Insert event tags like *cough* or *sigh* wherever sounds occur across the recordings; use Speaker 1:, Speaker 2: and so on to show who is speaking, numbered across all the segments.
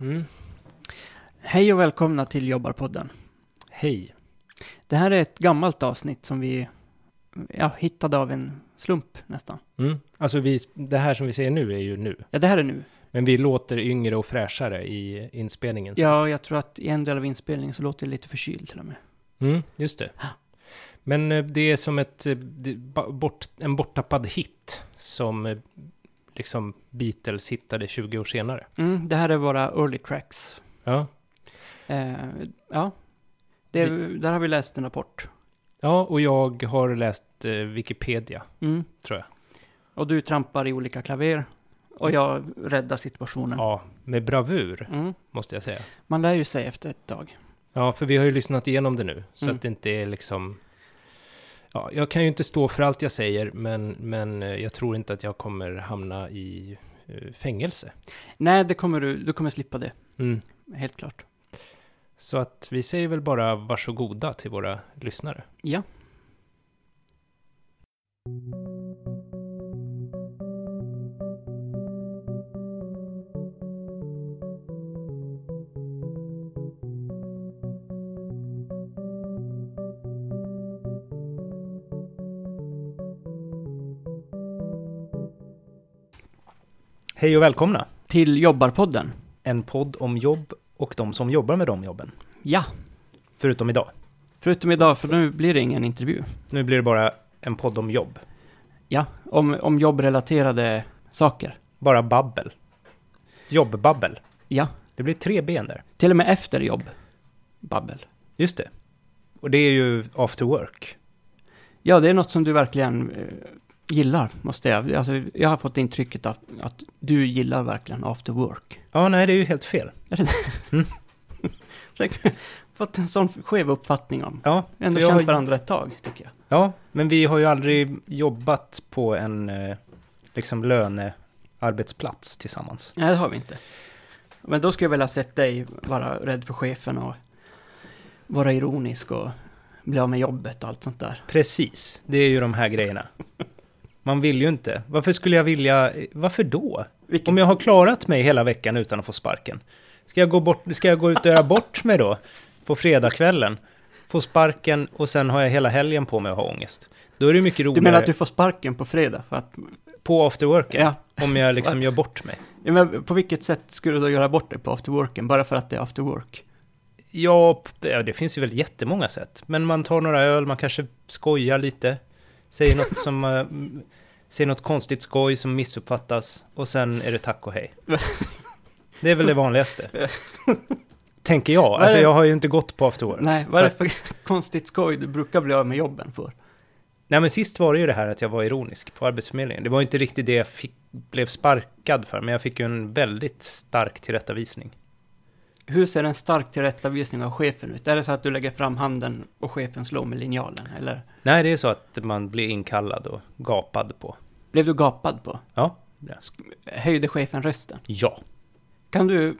Speaker 1: Mm. Hej och välkomna till Jobbarpodden.
Speaker 2: Hej.
Speaker 1: Det här är ett gammalt avsnitt som vi ja, hittade av en slump nästan.
Speaker 2: Mm. Alltså vi, det här som vi ser nu är ju nu.
Speaker 1: Ja, det här är nu.
Speaker 2: Men vi låter yngre och fräschare i inspelningen. sen.
Speaker 1: Ja, jag tror att i en del av inspelningen så låter det lite förkyld till och med.
Speaker 2: Mm, just det. Men eh, det är som ett, eh, det- ba- bort, en borttappad hit som eh, liksom Beatles hittade 20 år senare.
Speaker 1: Mm, det här är våra early tracks.
Speaker 2: Ja,
Speaker 1: Eh, ja, det, där har vi läst en rapport.
Speaker 2: ja och jag har läst eh, Wikipedia,
Speaker 1: Mm.
Speaker 2: tror jag.
Speaker 1: Och du trampar i olika klaver och jag räddar situationen.
Speaker 2: Ja, med bravur,
Speaker 1: Mm.
Speaker 2: måste jag säga.
Speaker 1: Man lär ju sig efter ett tag.
Speaker 2: Ja, för vi har ju lyssnat igenom det nu, så
Speaker 1: Mm.
Speaker 2: att det inte är liksom... Ja, jag kan ju inte stå för allt jag säger, men, men eh, jag tror inte att jag kommer hamna i eh, fängelse.
Speaker 1: Nej, det kommer du, du kommer slippa det,
Speaker 2: Mm.
Speaker 1: helt klart.
Speaker 2: Så att vi säger väl bara varsågoda till våra lyssnare.
Speaker 1: Ja.
Speaker 3: Hej och välkomna!
Speaker 1: Till Jobbarpodden.
Speaker 3: En podd om jobb och de som jobbar med de jobben.
Speaker 1: Ja,
Speaker 3: Förutom idag.
Speaker 1: förutom idag, för nu blir det ingen intervju.
Speaker 3: Nu blir det bara en podd om jobb.
Speaker 1: Ja, om, om jobbrelaterade saker.
Speaker 3: Bara babbel. Jobbbabbel.
Speaker 1: Ja,
Speaker 3: Det blir tre ben där.
Speaker 1: till och med efter jobb. Babbel.
Speaker 3: Just det. Och det är ju after work.
Speaker 1: Ja, det är något som du verkligen eh, gillar, måste jag. Alltså, jag har fått intrycket av att du gillar verkligen after work.
Speaker 3: Ja, nej, det är ju helt fel.
Speaker 1: fått en sån skev uppfattning om.
Speaker 3: Ja,
Speaker 1: Ändå
Speaker 3: för jag
Speaker 1: känt
Speaker 3: har-
Speaker 1: varandra ett tag, tycker jag.
Speaker 3: ja, men vi har ju aldrig jobbat på en eh, liksom lönearbetsplats tillsammans.
Speaker 1: Nej, det har vi inte. Men då skulle jag vilja ha sett dig vara rädd för chefen och vara ironisk och bli av med jobbet och allt sånt där.
Speaker 3: Precis, det är ju de här grejerna. Man vill ju inte. Varför skulle jag vilja... Varför då?
Speaker 1: Vilket,
Speaker 3: Om jag har klarat mig hela veckan utan att få sparken, ska jag gå, bort, ska jag gå ut och göra bort mig då? På fredagskvällen? Få sparken och sen har jag hela helgen på mig att ha ångest. Då är det mycket
Speaker 1: du
Speaker 3: roligare
Speaker 1: menar att du får sparken på fredag för att...
Speaker 3: på afterworken,
Speaker 1: Ja,
Speaker 3: om jag liksom gör bort mig.
Speaker 1: Ja, Men på vilket sätt skulle du då göra bort dig på afterworken, bara för att det är afterwork?
Speaker 3: Ja, p- ja, det finns ju väl jättemånga sätt. Men man tar några öl, man kanske skojar lite, säger något, som, *laughs* eh, m- säger något konstigt skoj som missuppfattas och sen är det tack och hej. Det är väl det vanligaste. Tänker jag.
Speaker 1: är
Speaker 3: Alltså
Speaker 1: det-
Speaker 3: jag har ju inte gått på afterwork.
Speaker 1: Nej, vad är det för *laughs* konstigt skoj du brukar bli av med jobben för?
Speaker 3: Nej men sist var det ju det här att jag var ironisk på Arbetsförmedlingen. Det var inte riktigt det jag fick, blev sparkad för, men jag fick ju en väldigt stark tillrättavisning.
Speaker 1: Hur ser en stark tillrättavisning av chefen ut? Är det så att du lägger fram handen och chefen slår med linjalen, eller?
Speaker 3: Nej, det är så att man blir inkallad och gapad på.
Speaker 1: Blev du gapad på?
Speaker 3: Ja.
Speaker 1: Höjde chefen rösten?
Speaker 3: Ja.
Speaker 1: Kan du,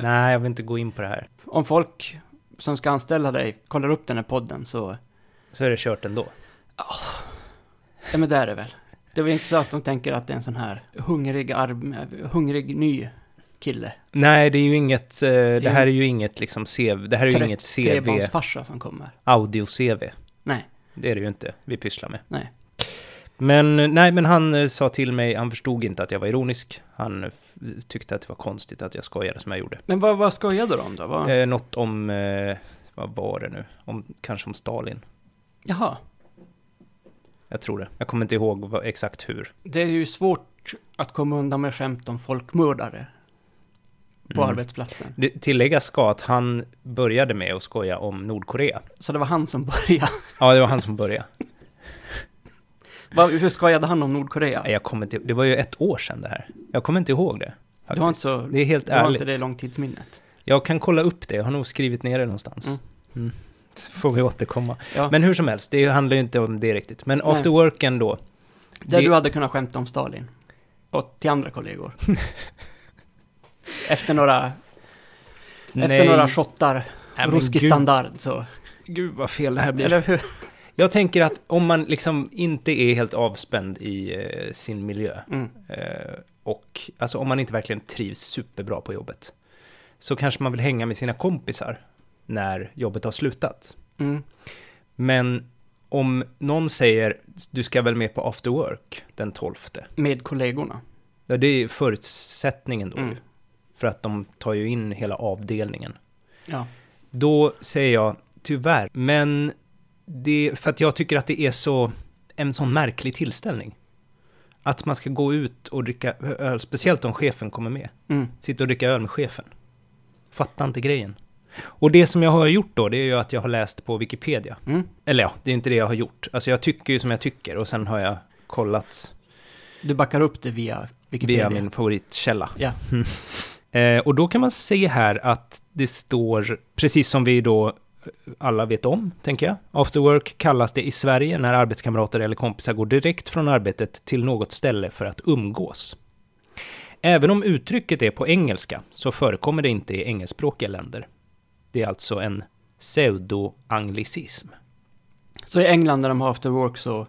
Speaker 3: Nej, jag vill inte gå in på det här.
Speaker 1: om folk som ska anställa dig kollar upp den här podden så,
Speaker 3: Så är det kört ändå.
Speaker 1: ja men det är det väl? Det är väl inte så att de tänker att det är en sån här hungrig, arm, hungrig ny kille?
Speaker 3: Nej, det är ju inget, eh, det här
Speaker 1: en-
Speaker 3: är ju inget liksom CV, det här är ju inget CV,
Speaker 1: trebarnsfarsa som kommer?
Speaker 3: audio-CV.
Speaker 1: Nej.
Speaker 3: Det är det ju inte vi pysslar med.
Speaker 1: Nej.
Speaker 3: Men, eh, nej, men han eh, sa till mig, han förstod inte att jag var ironisk. Han eh, f- tyckte att det var konstigt att jag skojade som jag gjorde.
Speaker 1: Men vad, vad skojade de om då? Vad?
Speaker 3: Eh, något om, eh, vad var det nu? Om, kanske om Stalin.
Speaker 1: Jaha.
Speaker 3: Jag tror det. Jag kommer inte ihåg vad, exakt hur.
Speaker 1: Det är ju svårt att komma undan med skämt om folkmördare på
Speaker 3: Mm.
Speaker 1: arbetsplatsen.
Speaker 3: Det tilläggas ska att han började med att skoja om Nordkorea.
Speaker 1: Så det var han som började. *laughs*
Speaker 3: Ja, det var han som började.
Speaker 1: Vad- Hur skojade han om Nordkorea?
Speaker 3: Nej, Jag kommer inte, det var ju ett år sedan det här. Jag kommer inte ihåg det.
Speaker 1: det var
Speaker 3: Faktiskt.
Speaker 1: inte så...
Speaker 3: Det är helt
Speaker 1: Det var
Speaker 3: ärligt.
Speaker 1: inte det långtidsminnet.
Speaker 3: Jag kan kolla upp det, jag har nog skrivit ner det någonstans.
Speaker 1: Mm.
Speaker 3: Mm. Så får vi återkomma.
Speaker 1: Ja.
Speaker 3: Men hur som helst, det handlar ju inte om det riktigt. Men
Speaker 1: Nej.
Speaker 3: after worken då.
Speaker 1: Där
Speaker 3: det-
Speaker 1: du hade kunnat skämta om Stalin. Och till andra
Speaker 3: *laughs*
Speaker 1: kollegor. efter några, efter några shottar,
Speaker 3: Nej, men
Speaker 1: ruskig
Speaker 3: gud-
Speaker 1: standard så...
Speaker 3: Gud vad fel det här blir.
Speaker 1: Eller hur?
Speaker 3: Jag tänker att om man liksom inte är helt avspänd i eh, sin miljö
Speaker 1: Mm.
Speaker 3: eh, och alltså om man inte verkligen trivs superbra på jobbet så kanske man vill hänga med sina kompisar när jobbet har slutat.
Speaker 1: Mm.
Speaker 3: Men om någon säger du ska väl med på after work den 12,
Speaker 1: Med kollegorna.
Speaker 3: ja, det är förutsättningen då
Speaker 1: Mm.
Speaker 3: ju, för att de tar ju in hela avdelningen.
Speaker 1: Ja.
Speaker 3: Då säger jag tyvärr, men det, för att jag tycker att det är så, en sån märklig tillställning. Att man ska gå ut och dricka öl, speciellt om chefen kommer med.
Speaker 1: Mm.
Speaker 3: Sitta och dricka öl med chefen. Fattar inte grejen. Och det som jag har gjort då, det är ju att jag har läst på Wikipedia.
Speaker 1: Mm.
Speaker 3: Eller ja, det är inte det jag har gjort. Alltså jag tycker ju som jag tycker och sen har jag kollat
Speaker 1: Du backar upp det via Wikipedia.
Speaker 3: via min favoritkälla.
Speaker 1: Ja.
Speaker 3: Mm. *laughs* Eh, och då kan man se här att det står, precis som vi då eh, alla vet om, tänker jag. After work kallas det i Sverige när arbetskamrater eller kompisar går direkt från arbetet till något ställe för att umgås. Även om uttrycket är på engelska så förekommer det inte i engelskspråkiga länder. Det är alltså en pseudo-anglicism.
Speaker 1: Så i England när de har after work så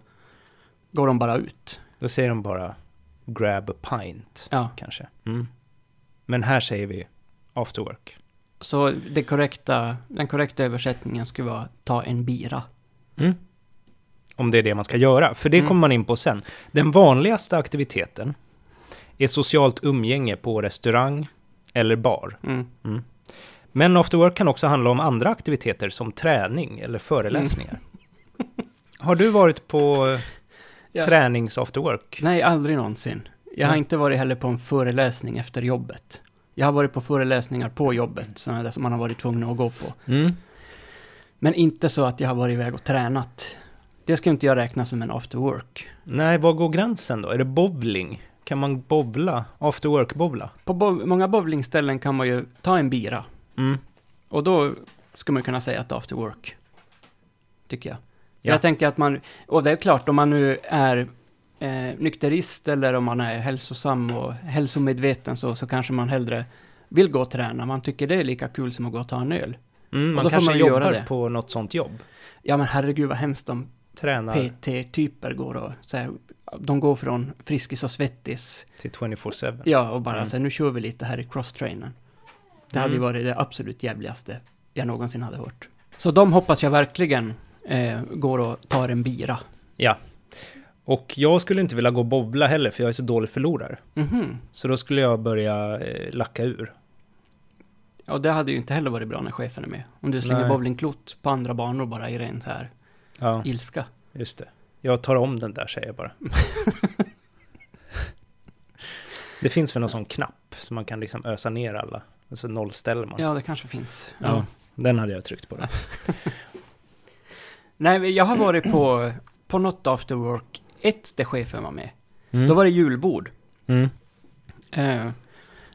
Speaker 1: går de bara ut.
Speaker 3: Då säger de bara grab a pint,
Speaker 1: Ja.
Speaker 3: kanske. Mm. Men här säger vi after work.
Speaker 1: Så det korrekta, den korrekta översättningen skulle vara ta en bira.
Speaker 3: Om det är det man ska göra, för det
Speaker 1: Mm.
Speaker 3: kommer man in på sen. Den vanligaste aktiviteten är socialt umgänge på restaurang eller bar.
Speaker 1: Mm.
Speaker 3: Men after work kan också handla om andra aktiviteter som träning eller föreläsningar. *laughs* Har du varit på eh,
Speaker 1: Ja.
Speaker 3: tränings after work?
Speaker 1: Nej, aldrig någonsin. Jag har
Speaker 3: Nej.
Speaker 1: inte varit heller på en föreläsning efter jobbet. Jag har varit på föreläsningar på jobbet, sådana där som man har varit tvungen att gå på.
Speaker 3: Mm.
Speaker 1: Men inte så att jag har varit iväg och tränat. Det ska inte jag räkna som en after work.
Speaker 3: Nej, var går gränsen då? Är det bowling? Kan man bowla? After work-bowla?
Speaker 1: På bov- många bowlingställen kan man ju ta en bira.
Speaker 3: Mm.
Speaker 1: Och då ska man kunna säga att det är after work. Tycker jag.
Speaker 3: Ja.
Speaker 1: Jag tänker att man, och det är klart om man nu är eh, nykterist eller om man är hälsosam och hälsomedveten så, så kanske man hellre vill gå och träna. Man tycker det är lika kul som att gå och ta en öl.
Speaker 3: Mm,
Speaker 1: Och
Speaker 3: man
Speaker 1: då får
Speaker 3: kanske
Speaker 1: man ju
Speaker 3: jobbar
Speaker 1: göra det.
Speaker 3: på något sånt jobb.
Speaker 1: Ja men herregud vad hemskt om
Speaker 3: Tränar
Speaker 1: PT-typer går och så här, de går från Friskis och Svettis,
Speaker 3: till 24-7.
Speaker 1: ja och bara
Speaker 3: Mm.
Speaker 1: så här, nu kör vi lite här i crosstrainen. Det hade ju
Speaker 3: Mm.
Speaker 1: varit det absolut jävligaste jag någonsin hade hört. Så de hoppas jag verkligen eh, går och tar en bira.
Speaker 3: Och jag skulle inte vilja gå och bowla heller, för jag är så dålig förlorare.
Speaker 1: Mhm.
Speaker 3: Så då skulle jag börja eh, lacka ur.
Speaker 1: Ja, det hade ju inte heller varit bra när chefen är med. Om du slänger
Speaker 3: Nej.
Speaker 1: bowlingklot på andra banor bara i ren så här
Speaker 3: Ja,
Speaker 1: ilska.
Speaker 3: just det. Jag tar om den där, säger
Speaker 1: *laughs*
Speaker 3: jag bara. det finns väl någon sån knapp som man kan liksom ösa ner alla. Och så nollställer man.
Speaker 1: Ja, det kanske finns. Mm. Ja.
Speaker 3: Ja, den hade jag tryckt på. Då.
Speaker 1: Nej, men jag har varit på, på något after work, ett där chefen var med.
Speaker 3: Mm.
Speaker 1: Då var det julbord.
Speaker 3: Mm.
Speaker 1: Eh,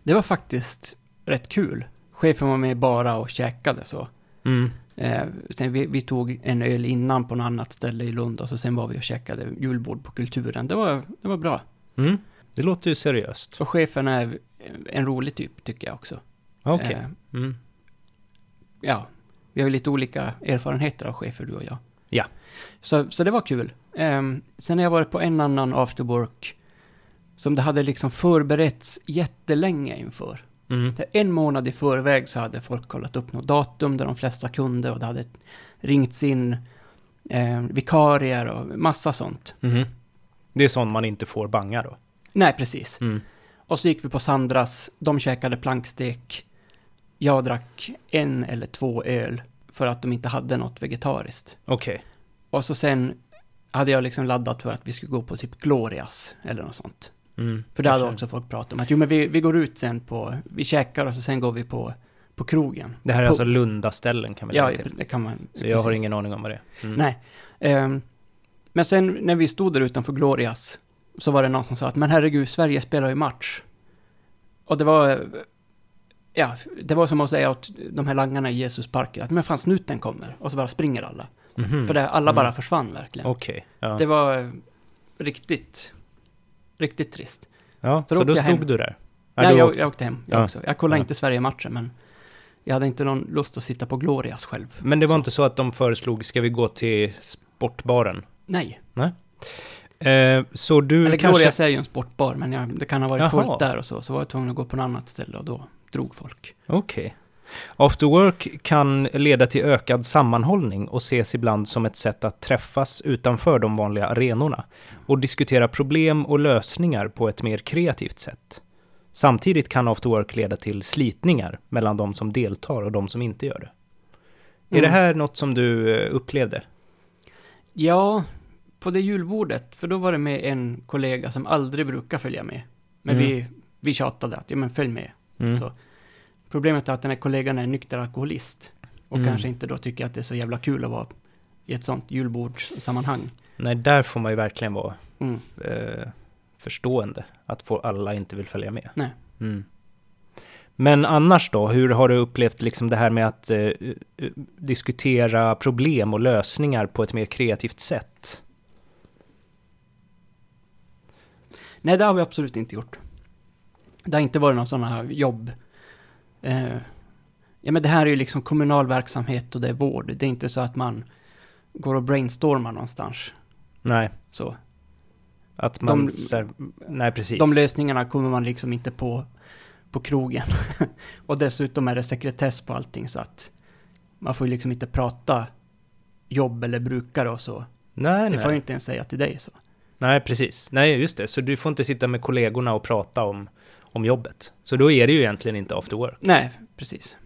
Speaker 1: det var faktiskt rätt kul. Chefen var med bara och käkade så.
Speaker 3: Mm.
Speaker 1: Eh, sen vi, vi tog en öl innan på något annat ställe i Lund och så sen var vi och käkade julbord på Kulturen. Det var, det var bra.
Speaker 3: Mm. Det låter ju seriöst.
Speaker 1: Och chefen är en rolig typ, tycker jag också.
Speaker 3: Okej.
Speaker 1: Eh,
Speaker 3: Mm.
Speaker 1: ja, vi har ju lite olika erfarenheter av chefer, du och jag.
Speaker 3: Ja.
Speaker 1: Så, så det var kul. Ehm, sen har jag varit på en annan after work som det hade liksom förberetts jättelänge inför.
Speaker 3: Mm.
Speaker 1: Det- En månad i förväg så hade folk kollat upp något datum där de flesta kunde och det hade ringts in eh, vikarier och massa sånt.
Speaker 3: Mhm. Det är sånt man inte får banga då.
Speaker 1: Nej, precis.
Speaker 3: Mm.
Speaker 1: Och så gick vi på Sandras, de käkade plankstek. Jag drack en eller två öl för att de inte hade något vegetariskt.
Speaker 3: Okej.
Speaker 1: Och så sen hade jag liksom laddat för att vi skulle gå på typ Glorias eller något sånt.
Speaker 3: Mm.
Speaker 1: För det hade
Speaker 3: Kanske.
Speaker 1: också folk pratat om att jo men vi, vi går ut sen på, vi käkar och så sen går vi på, på krogen.
Speaker 3: Det här är
Speaker 1: På-
Speaker 3: alltså Lundaställen kan vi lägga
Speaker 1: Ja,
Speaker 3: till.
Speaker 1: det kan man.
Speaker 3: Så jag har ingen aning om vad det är. Mm.
Speaker 1: Nej. Ehm, men sen när vi stod där utanför Glorias så var det någon som sa att men herregud, Sverige spelar ju match. Och det var, ja, det var som att säga åt de här langarna i Jesusparken att men fan snuten kommer. Och så bara springer alla.
Speaker 3: Mhm.
Speaker 1: För det, alla bara
Speaker 3: Mm.
Speaker 1: försvann verkligen.
Speaker 3: Okej. Ja.
Speaker 1: Det var eh, riktigt, riktigt trist.
Speaker 3: ja,
Speaker 1: så
Speaker 3: så,
Speaker 1: då åkte
Speaker 3: då
Speaker 1: jag
Speaker 3: stod
Speaker 1: hem.
Speaker 3: du där?
Speaker 1: Nej,
Speaker 3: du
Speaker 1: jag,
Speaker 3: åkte-
Speaker 1: jag åkte hem jag
Speaker 3: Ja.
Speaker 1: också. Jag kollade
Speaker 3: Ja.
Speaker 1: inte Sverige-matchen, men jag hade inte någon lust att sitta på Glorias själv.
Speaker 3: Men det var inte så att de föreslog, ska vi gå till sportbaren?
Speaker 1: Nej,
Speaker 3: Eh, så du
Speaker 1: eller
Speaker 3: kanske...
Speaker 1: Glorias är ju en sportbar, men jag, det kan ha varit
Speaker 3: Jaha.
Speaker 1: fullt där och så, så var jag tvungen att gå på något annat ställe och då drog folk.
Speaker 3: Okej. After work kan leda till ökad sammanhållning och ses ibland som ett sätt att träffas utanför de vanliga arenorna och diskutera problem och lösningar på ett mer kreativt sätt. Samtidigt kan after work leda till slitningar mellan de som deltar och de som inte gör det. Är
Speaker 1: Mm.
Speaker 3: det här något som du eh, upplevde?
Speaker 1: Ja, på det julbordet, för då var det med en kollega som aldrig brukar följa med. Men
Speaker 3: Mm.
Speaker 1: vi, vi tjatade att, ja men följ med.
Speaker 3: Mm.
Speaker 1: Så. Problemet är att den här kollegan är en nykter alkoholist och
Speaker 3: Mm.
Speaker 1: kanske inte då tycker att det är så jävla kul att vara i ett sånt julbordssammanhang.
Speaker 3: Nej, där får man ju verkligen vara
Speaker 1: Mm.
Speaker 3: eh, förstående. Att få alla inte vill följa med.
Speaker 1: Nej.
Speaker 3: Mm. Men annars då, hur har du upplevt liksom det här med att eh, eh, diskutera problem och lösningar på ett mer kreativt sätt?
Speaker 1: Nej, det har vi absolut inte gjort. Det har inte varit några sådana jobb. Eh, ja, men det här är ju liksom kommunal verksamhet och det är vård. Det är inte så att man går och brainstormar någonstans.
Speaker 3: Nej,
Speaker 1: Så.
Speaker 3: att man...
Speaker 1: De-
Speaker 3: så här, nej, precis.
Speaker 1: De lösningarna kommer man liksom inte på på krogen. *laughs* och dessutom är det sekretess på allting så att man får ju liksom inte prata jobb eller brukare och så.
Speaker 3: nej,
Speaker 1: Det får jag ju
Speaker 3: nej.
Speaker 1: inte ens säga till dig så.
Speaker 3: nej, precis. Nej, just det. Så du får inte sitta med kollegorna och prata om, om jobbet. Så då är det ju egentligen inte after work,
Speaker 1: Nej, precis.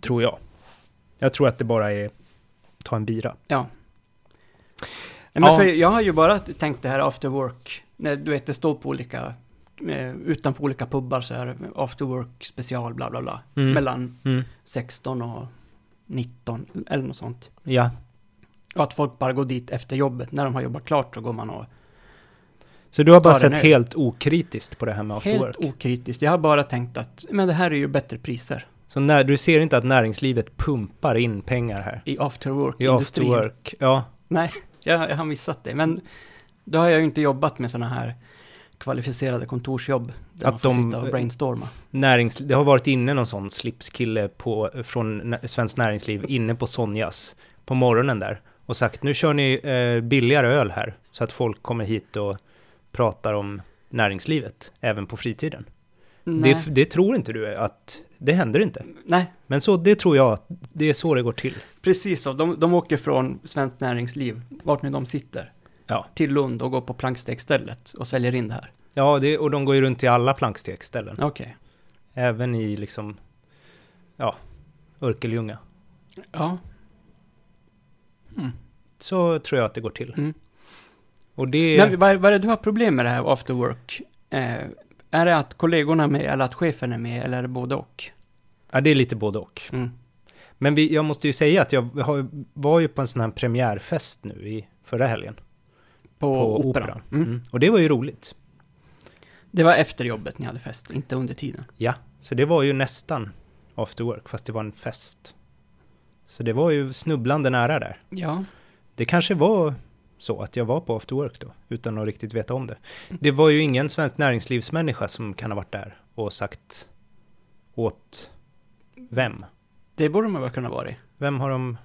Speaker 3: tror jag. Jag tror att det bara är ta en bira.
Speaker 1: Nej, men
Speaker 3: Ja.
Speaker 1: för jag har ju bara tänkt det här after work, när du vet det står på olika, eh, utanför olika pubbar så här, after work special bla bla bla,
Speaker 3: Mm.
Speaker 1: mellan
Speaker 3: Mm.
Speaker 1: 16 och 19 eller något sånt.
Speaker 3: Ja,
Speaker 1: Och att folk bara går dit efter jobbet, när de har jobbat klart så går man och
Speaker 3: Så du har bara
Speaker 1: Ta den
Speaker 3: sett
Speaker 1: nu.
Speaker 3: helt okritiskt på det här med after
Speaker 1: Helt
Speaker 3: work?
Speaker 1: okritiskt. Jag har bara tänkt att men det här är ju bättre priser
Speaker 3: Så när, du ser inte att näringslivet pumpar in pengar här?
Speaker 1: i after
Speaker 3: I
Speaker 1: work-industrin.
Speaker 3: after work? Ja.
Speaker 1: Jag, jag har missat det, men då har jag ju inte jobbat med sådana här kvalificerade kontorsjobb där
Speaker 3: Att
Speaker 1: man får
Speaker 3: de-
Speaker 1: sitta och brainstorma.
Speaker 3: Närings, det har varit inne någon sån slipskille på, från nä- Svenskt Näringsliv inne på Sonjas på morgonen där och sagt nu kör ni eh, billigare öl här så att folk kommer hit och pratar om näringslivet även på fritiden.
Speaker 1: Nej,
Speaker 3: Det, det tror inte du att det händer inte.
Speaker 1: nej
Speaker 3: Men så det tror jag att det är så det går till.
Speaker 1: precis så. De, de åker från Svenskt Näringsliv, vart nu de sitter,
Speaker 3: Ja.
Speaker 1: till Lund och går på plankstegsstället och säljer in det här.
Speaker 3: Ja, det, och de går ju runt till alla plankstegsställen.
Speaker 1: Okej.
Speaker 3: Även i liksom, ja, Örkeljunga.
Speaker 1: Ja. Hmm.
Speaker 3: Så tror jag att det går till.
Speaker 1: Mm.
Speaker 3: Och det...
Speaker 1: Men vad, är- vad är det du har problem med det här after work? Eh, är det att kollegorna är med eller att chefen är med eller är det både och?
Speaker 3: Ja, det är lite både och.
Speaker 1: Mm.
Speaker 3: Men vi, jag måste ju säga att jag har, var ju på en sån här premiärfest nu i förra helgen.
Speaker 1: På,
Speaker 3: på
Speaker 1: operan.
Speaker 3: Operan.
Speaker 1: Mm.
Speaker 3: Mm. Och det var ju roligt.
Speaker 1: Det var efter jobbet ni hade fest, inte under tiden.
Speaker 3: Så det var ju nästan after work, fast det var en fest. Så det var ju snubblande nära där.
Speaker 1: Ja.
Speaker 3: Det kanske var så att jag var på after work då, utan att riktigt veta om det. Det var ju ingen svensk näringslivsmänniska som kan ha varit där och sagt åt vem?
Speaker 1: Det borde man väl kunna vara i.
Speaker 3: Vem har de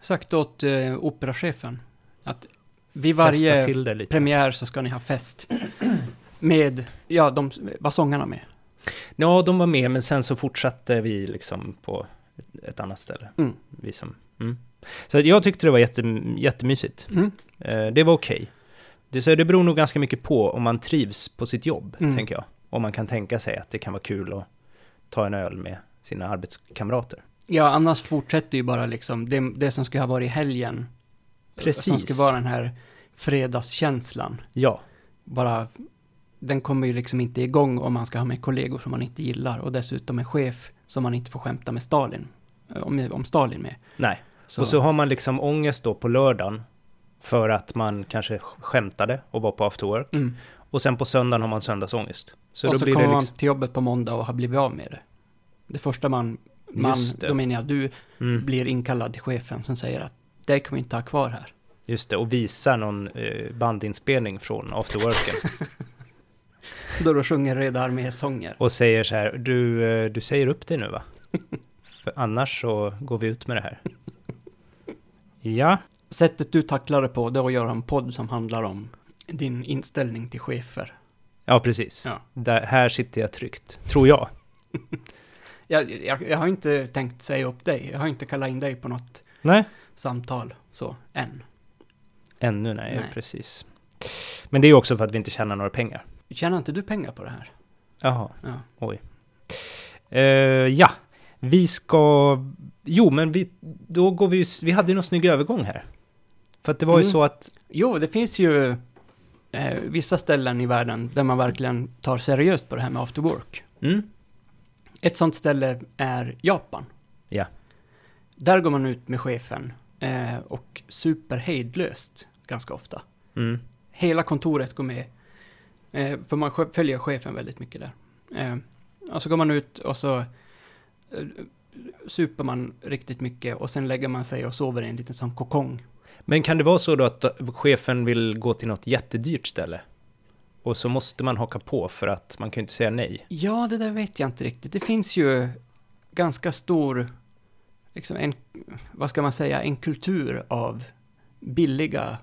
Speaker 1: Sagt åt eh, operachefen att vid
Speaker 3: festat
Speaker 1: varje
Speaker 3: till det lite?
Speaker 1: premiär så ska ni ha fest. Med, ja, de var sångarna med.
Speaker 3: Ja, de var med, men sen så fortsatte vi liksom på ett- ett annat ställe.
Speaker 1: Mm.
Speaker 3: Vi som, mm. Så att jag tyckte det var jätte, jättemysigt.
Speaker 1: Mm.
Speaker 3: Eh, det var okej. Det, så det beror nog ganska mycket på om man trivs på sitt jobb,
Speaker 1: Mm.
Speaker 3: tänker jag. Om man kan tänka sig att det kan vara kul att ta en öl med sina arbetskamrater.
Speaker 1: Ja, annars fortsätter ju bara liksom det, det som skulle ha varit i helgen.
Speaker 3: Precis.
Speaker 1: Som skulle vara den här fredagskänslan.
Speaker 3: Ja,
Speaker 1: Bara, den kommer ju liksom inte igång om man ska ha med kollegor som man inte gillar. Och dessutom en chef som man inte får skämta med Stalin. eh, Om, om Stalin med.
Speaker 3: nej. Och så har man liksom ångest då på lördagen för att man kanske sk- skämtade och var på after work.
Speaker 1: Mm.
Speaker 3: Och sen på söndagen har man söndagsångest. Så
Speaker 1: och
Speaker 3: då
Speaker 1: så
Speaker 3: blir
Speaker 1: kommer
Speaker 3: det liksom...
Speaker 1: man till jobbet på måndag och har blivit av med det. Det första man, man
Speaker 3: Just det.
Speaker 1: då menar jag du,
Speaker 3: Mm.
Speaker 1: blir inkallad till chefen som säger att det kan vi inte ha kvar här.
Speaker 3: Just det, och visa någon eh, bandinspelning från afterworken.
Speaker 1: Då du sjunger Röda armé-sånger.
Speaker 3: och säger så här, du, eh, du säger upp dig
Speaker 1: *laughs*
Speaker 3: nu va? För annars så går vi ut med det här. Ja,
Speaker 1: Sättet du tacklar det på, det är att göra en podd som handlar om din inställning till chefer.
Speaker 3: Ja, precis.
Speaker 1: Ja.
Speaker 3: Där, här sitter jag tryggt, tror jag.
Speaker 1: Jag, jag, jag har inte tänkt säga upp dig. Jag har inte kallat in dig på något
Speaker 3: Nej,
Speaker 1: samtal så, än.
Speaker 3: ännu nej,
Speaker 1: Nej.
Speaker 3: precis. Men det är ju också för att vi inte tjänar några pengar.
Speaker 1: Tjänar inte du pengar på det här?
Speaker 3: Jaha.
Speaker 1: Ja.
Speaker 3: Eh, ja, vi ska... Jo, men vi, då går vi ju... s- Vi hade ju någon snygg övergång här. För att det var ju
Speaker 1: Mm.
Speaker 3: så att...
Speaker 1: Jo, det finns ju eh, vissa ställen i världen där man verkligen tar seriöst på det här med after work.
Speaker 3: Mm,
Speaker 1: Ett sånt ställe är Japan.
Speaker 3: Ja.
Speaker 1: Där går man ut med chefen eh, och super hejdlöst ganska ofta.
Speaker 3: mm,
Speaker 1: Hela kontoret går med. Eh, för man sche- följer chefen väldigt mycket där. Eh, och så går man ut och så eh, super man riktigt mycket och sen lägger man sig och sover i en liten sån kokong.
Speaker 3: Men kan det vara så då att chefen vill gå till något jättedyrt ställe? Och så måste man haka på för att man kan ju inte säga nej.
Speaker 1: Ja, det där vet jag inte riktigt. Det finns ju ganska stor, liksom en, vad ska man säga, en kultur av billiga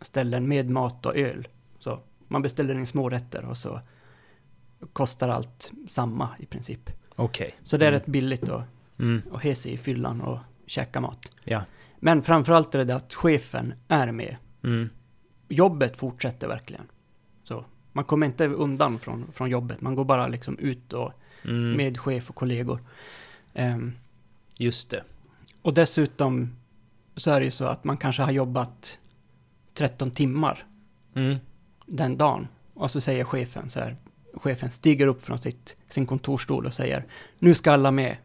Speaker 1: ställen med mat och öl. Så man beställer in smårätter och så kostar allt samma i princip.
Speaker 3: Okej.
Speaker 1: Så det är
Speaker 3: Mm.
Speaker 1: rätt billigt att
Speaker 3: Mm.
Speaker 1: och he sig i fyllan och käka mat.
Speaker 3: Ja.
Speaker 1: Men framförallt är det det att chefen är med.
Speaker 3: Mm.
Speaker 1: Jobbet fortsätter verkligen. Så man kommer inte undan från, från jobbet, man går bara liksom ut och
Speaker 3: Mm.
Speaker 1: med chef och kollegor. Ehm,
Speaker 3: Just det.
Speaker 1: och dessutom så är det ju så att man kanske har jobbat 13 timmar
Speaker 3: Mm.
Speaker 1: den dagen. Och så säger chefen så här, chefen stiger upp från sitt, sin kontorstol och säger nu ska alla med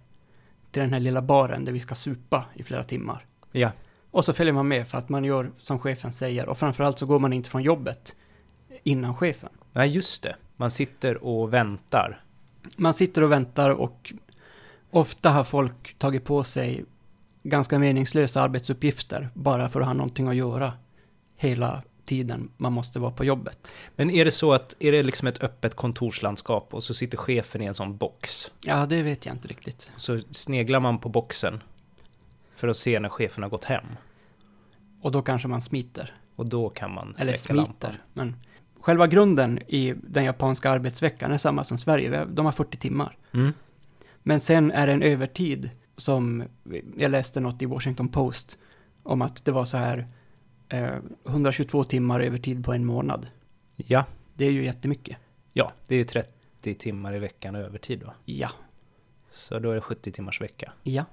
Speaker 1: till den här lilla baren där vi ska supa i flera timmar.
Speaker 3: Ja.
Speaker 1: Och så följer man med för att man gör som chefen säger och framförallt så går man inte från jobbet innan chefen.
Speaker 3: Nej, just det. Man sitter och väntar.
Speaker 1: Man sitter och väntar och ofta har folk tagit på sig ganska meningslösa arbetsuppgifter bara för att ha någonting att göra hela tiden man måste vara på jobbet.
Speaker 3: Men är det så att, är det liksom ett öppet kontorslandskap och så sitter chefen i en sån box?
Speaker 1: Ja, det vet jag inte riktigt.
Speaker 3: Så sneglar man på boxen för att se när chefen har gått hem.
Speaker 1: Och då kanske man smiter.
Speaker 3: Och då kan man
Speaker 1: Eller
Speaker 3: släcka lampan.
Speaker 1: smiter. Men själva grunden i den japanska arbetsveckan är samma som Sverige. De har 40 timmar.
Speaker 3: Mm.
Speaker 1: Men sen är det en övertid som, jag läste något i Washington Post om att det var så här eh, 122 timmar övertid på en månad.
Speaker 3: Ja,
Speaker 1: Det är ju jättemycket.
Speaker 3: ja, det är ju 30 timmar i veckan övertid då.
Speaker 1: Ja.
Speaker 3: Så då är det 70 timmars vecka.
Speaker 1: Ja.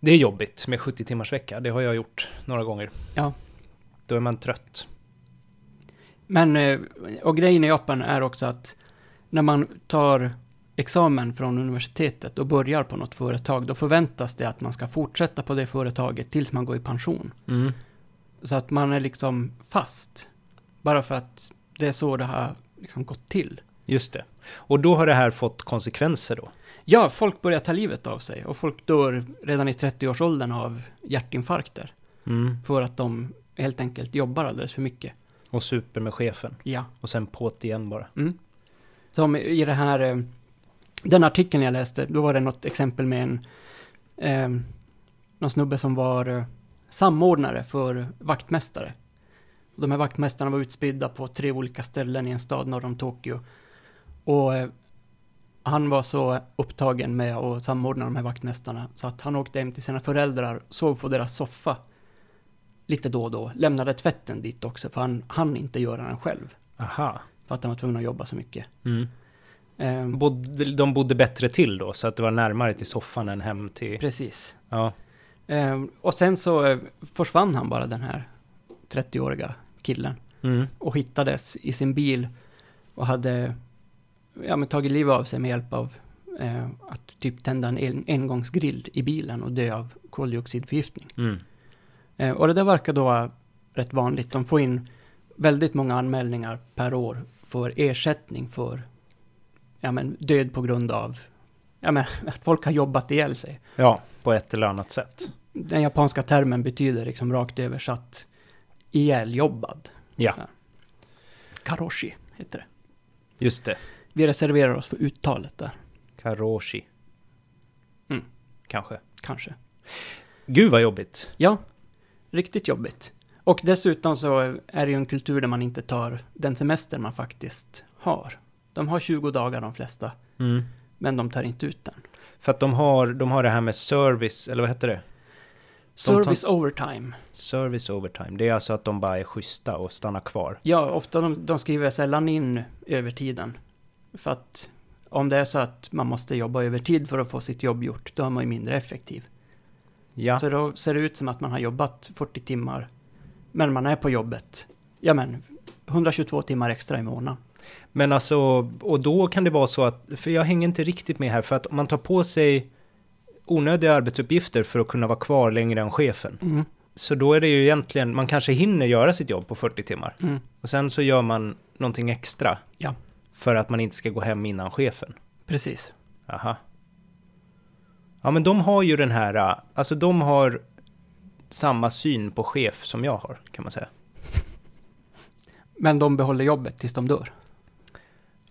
Speaker 3: Det är jobbigt med 70 timmars vecka, det har jag gjort några gånger.
Speaker 1: Ja.
Speaker 3: Då är man trött.
Speaker 1: Men, eh, och grejen i Japan är också att när man tar examen från universitetet och börjar på något företag, då förväntas det att man ska fortsätta på det företaget tills man går i pension.
Speaker 3: Mm.
Speaker 1: Så att man är liksom fast. Bara för att det är så det har liksom gått till.
Speaker 3: Just det. Och då har det här fått konsekvenser då.
Speaker 1: Ja, folk börjar ta livet av sig och folk dör redan i 30-årsåldern av hjärtinfarkter.
Speaker 3: Mm.
Speaker 1: För att de helt enkelt jobbar alldeles för mycket.
Speaker 3: Och super med chefen.
Speaker 1: Ja.
Speaker 3: Och sen på't igen bara.
Speaker 1: Mm. Som i det här, eh, den artikeln jag läste, då var det något exempel med en, eh, någon snubbe som var eh, samordnare för vaktmästare. Och de här vaktmästarna var utspridda på tre olika ställen i en stad norr om Tokyo. Och eh, han var så upptagen med att samordna de här vaktmästarna så att han åkte hem till sina föräldrar, sov på deras soffa lite då och då, lämnade tvätten dit också för han hann inte göra den själv
Speaker 3: Aha.
Speaker 1: för att han var tvungen att jobba så mycket.
Speaker 3: Mm.
Speaker 1: Ehm,
Speaker 3: Bodde, de bodde bättre till då, så att det var närmare till soffan än hem till...
Speaker 1: precis.
Speaker 3: Ja.
Speaker 1: Ehm, och sen så eh, försvann han bara den här 30-åriga killen
Speaker 3: Mm.
Speaker 1: och hittades i sin bil och hade ja, men, tagit livet av sig med hjälp av eh, att typ tända en en- engångsgrill i bilen och dö av koldioxidförgiftning.
Speaker 3: Mm.
Speaker 1: Eh, och det där verkar då vara rätt vanligt. De får in väldigt många anmälningar per år för ersättning för ja, men, död på grund av ja, men, *laughs* att folk har jobbat ihjäl sig.
Speaker 3: ja, på ett eller annat sätt.
Speaker 1: den japanska termen betyder liksom rakt översatt ihjäljobbad.
Speaker 3: Ja,
Speaker 1: Karoshi heter det.
Speaker 3: just det.
Speaker 1: Vi reserverar oss för uttalet där,
Speaker 3: Karoshi.
Speaker 1: Mm.
Speaker 3: Kanske.
Speaker 1: kanske.
Speaker 3: Gud vad jobbigt.
Speaker 1: Ja, riktigt jobbigt. Och dessutom så är det ju en kultur där man inte tar den semester man faktiskt har. De har 20 dagar de flesta,
Speaker 3: Mm.
Speaker 1: men de tar inte ut den.
Speaker 3: För att de har, de har det här med service, eller vad heter det? tar-
Speaker 1: Service overtime.
Speaker 3: Service overtime. Det är alltså att de bara är schyssta och stannar kvar.
Speaker 1: Ja, ofta de, de skriver sällan in övertiden. För att om det är så att man måste jobba övertid för att få sitt jobb gjort, då är man ju mindre effektiv.
Speaker 3: Ja,
Speaker 1: Så då ser det ut som att man har jobbat 40 timmar, men man är på jobbet. Ja, men 122 timmar extra i månaden.
Speaker 3: men alltså, och då kan det vara så att, för jag hänger inte riktigt med här, för att om man tar på sig onödiga arbetsuppgifter för att kunna vara kvar längre än chefen,
Speaker 1: Mm.
Speaker 3: så då är det ju egentligen, man kanske hinner göra sitt jobb på 40 timmar,
Speaker 1: Mm.
Speaker 3: och sen så gör man någonting extra
Speaker 1: Ja.
Speaker 3: för att man inte ska gå hem innan chefen.
Speaker 1: Precis.
Speaker 3: Aha. Ja, men de har ju den här, äh, alltså de har samma syn på chef som jag har, kan man säga.
Speaker 1: Men de behåller jobbet tills de dör.